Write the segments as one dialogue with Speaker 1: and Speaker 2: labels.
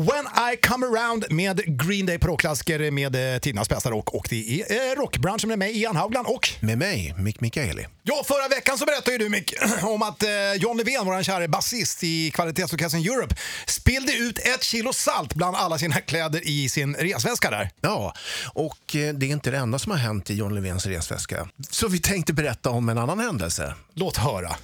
Speaker 1: When I come around med Green Day på rockklassiker med eh, tidernas bästa rock och det är eh, rockbranschen med mig Ian Haugland och
Speaker 2: Med mig, Mick Mikaeli.
Speaker 1: ja, förra veckan så berättade ju du Mick om att eh, John Levén, våran kära basist i kvalitetsorkestern Europe, spillde ut ett kilo salt bland alla sina kläder i sin resväska där.
Speaker 2: Ja, och eh, det är inte det enda som har hänt i John Levens resväska. Så vi tänkte berätta om en annan händelse.
Speaker 1: Låt höra.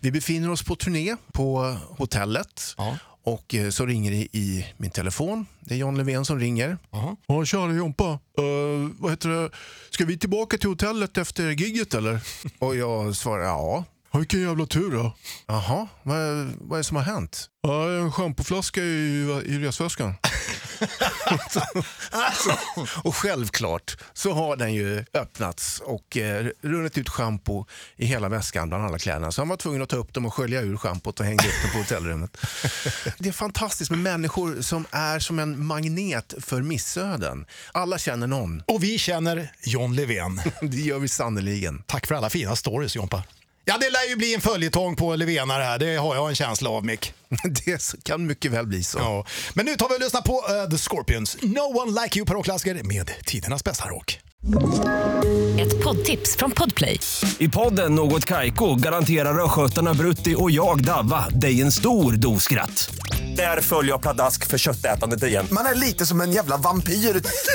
Speaker 2: Vi befinner oss på turné på hotellet.
Speaker 1: Ja.
Speaker 2: Och eh, så ringer det i min telefon. Det är John Levén som ringer.
Speaker 1: Jaha.
Speaker 2: Ja, tjena Jompa. Eh, vad heter det? Ska vi tillbaka till hotellet efter gigget eller? Och jag svarar ja. Vilken jävla tur då. Jaha, vad, vad är det som har hänt? Ja, en schampoflaska i, i resväskan. Alltså, och självklart så har den ju öppnats och eh, runnit ut schampo i hela väskan bland alla kläderna. Så han var tvungen att ta upp dem och skölja ur schampot och hänga upp dem på hotellrummet. Det är fantastiskt med människor som är som en magnet för missöden. Alla känner någon.
Speaker 1: Och vi känner John Levén.
Speaker 2: Det gör vi sannerligen.
Speaker 1: Tack för alla fina stories Jompa. Ja, det lär ju bli en följetong på Levenare här, det har jag en känsla av Mick.
Speaker 2: Det kan mycket väl bli så.
Speaker 1: Ja. Men nu tar vi och lyssnar på eh, The Scorpions, No One Like You på rockklassiker med tidernas bästa rock.
Speaker 3: Ett poddtips från Podplay.
Speaker 4: I podden Något Kaiko garanterar östgötarna Brutti och jag, Davva, dig en stor dos skratt. Där följer jag pladask för köttätandet igen.
Speaker 5: Man är lite som en jävla vampyr.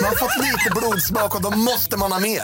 Speaker 5: Man har fått lite blodsmak och då måste man ha mer.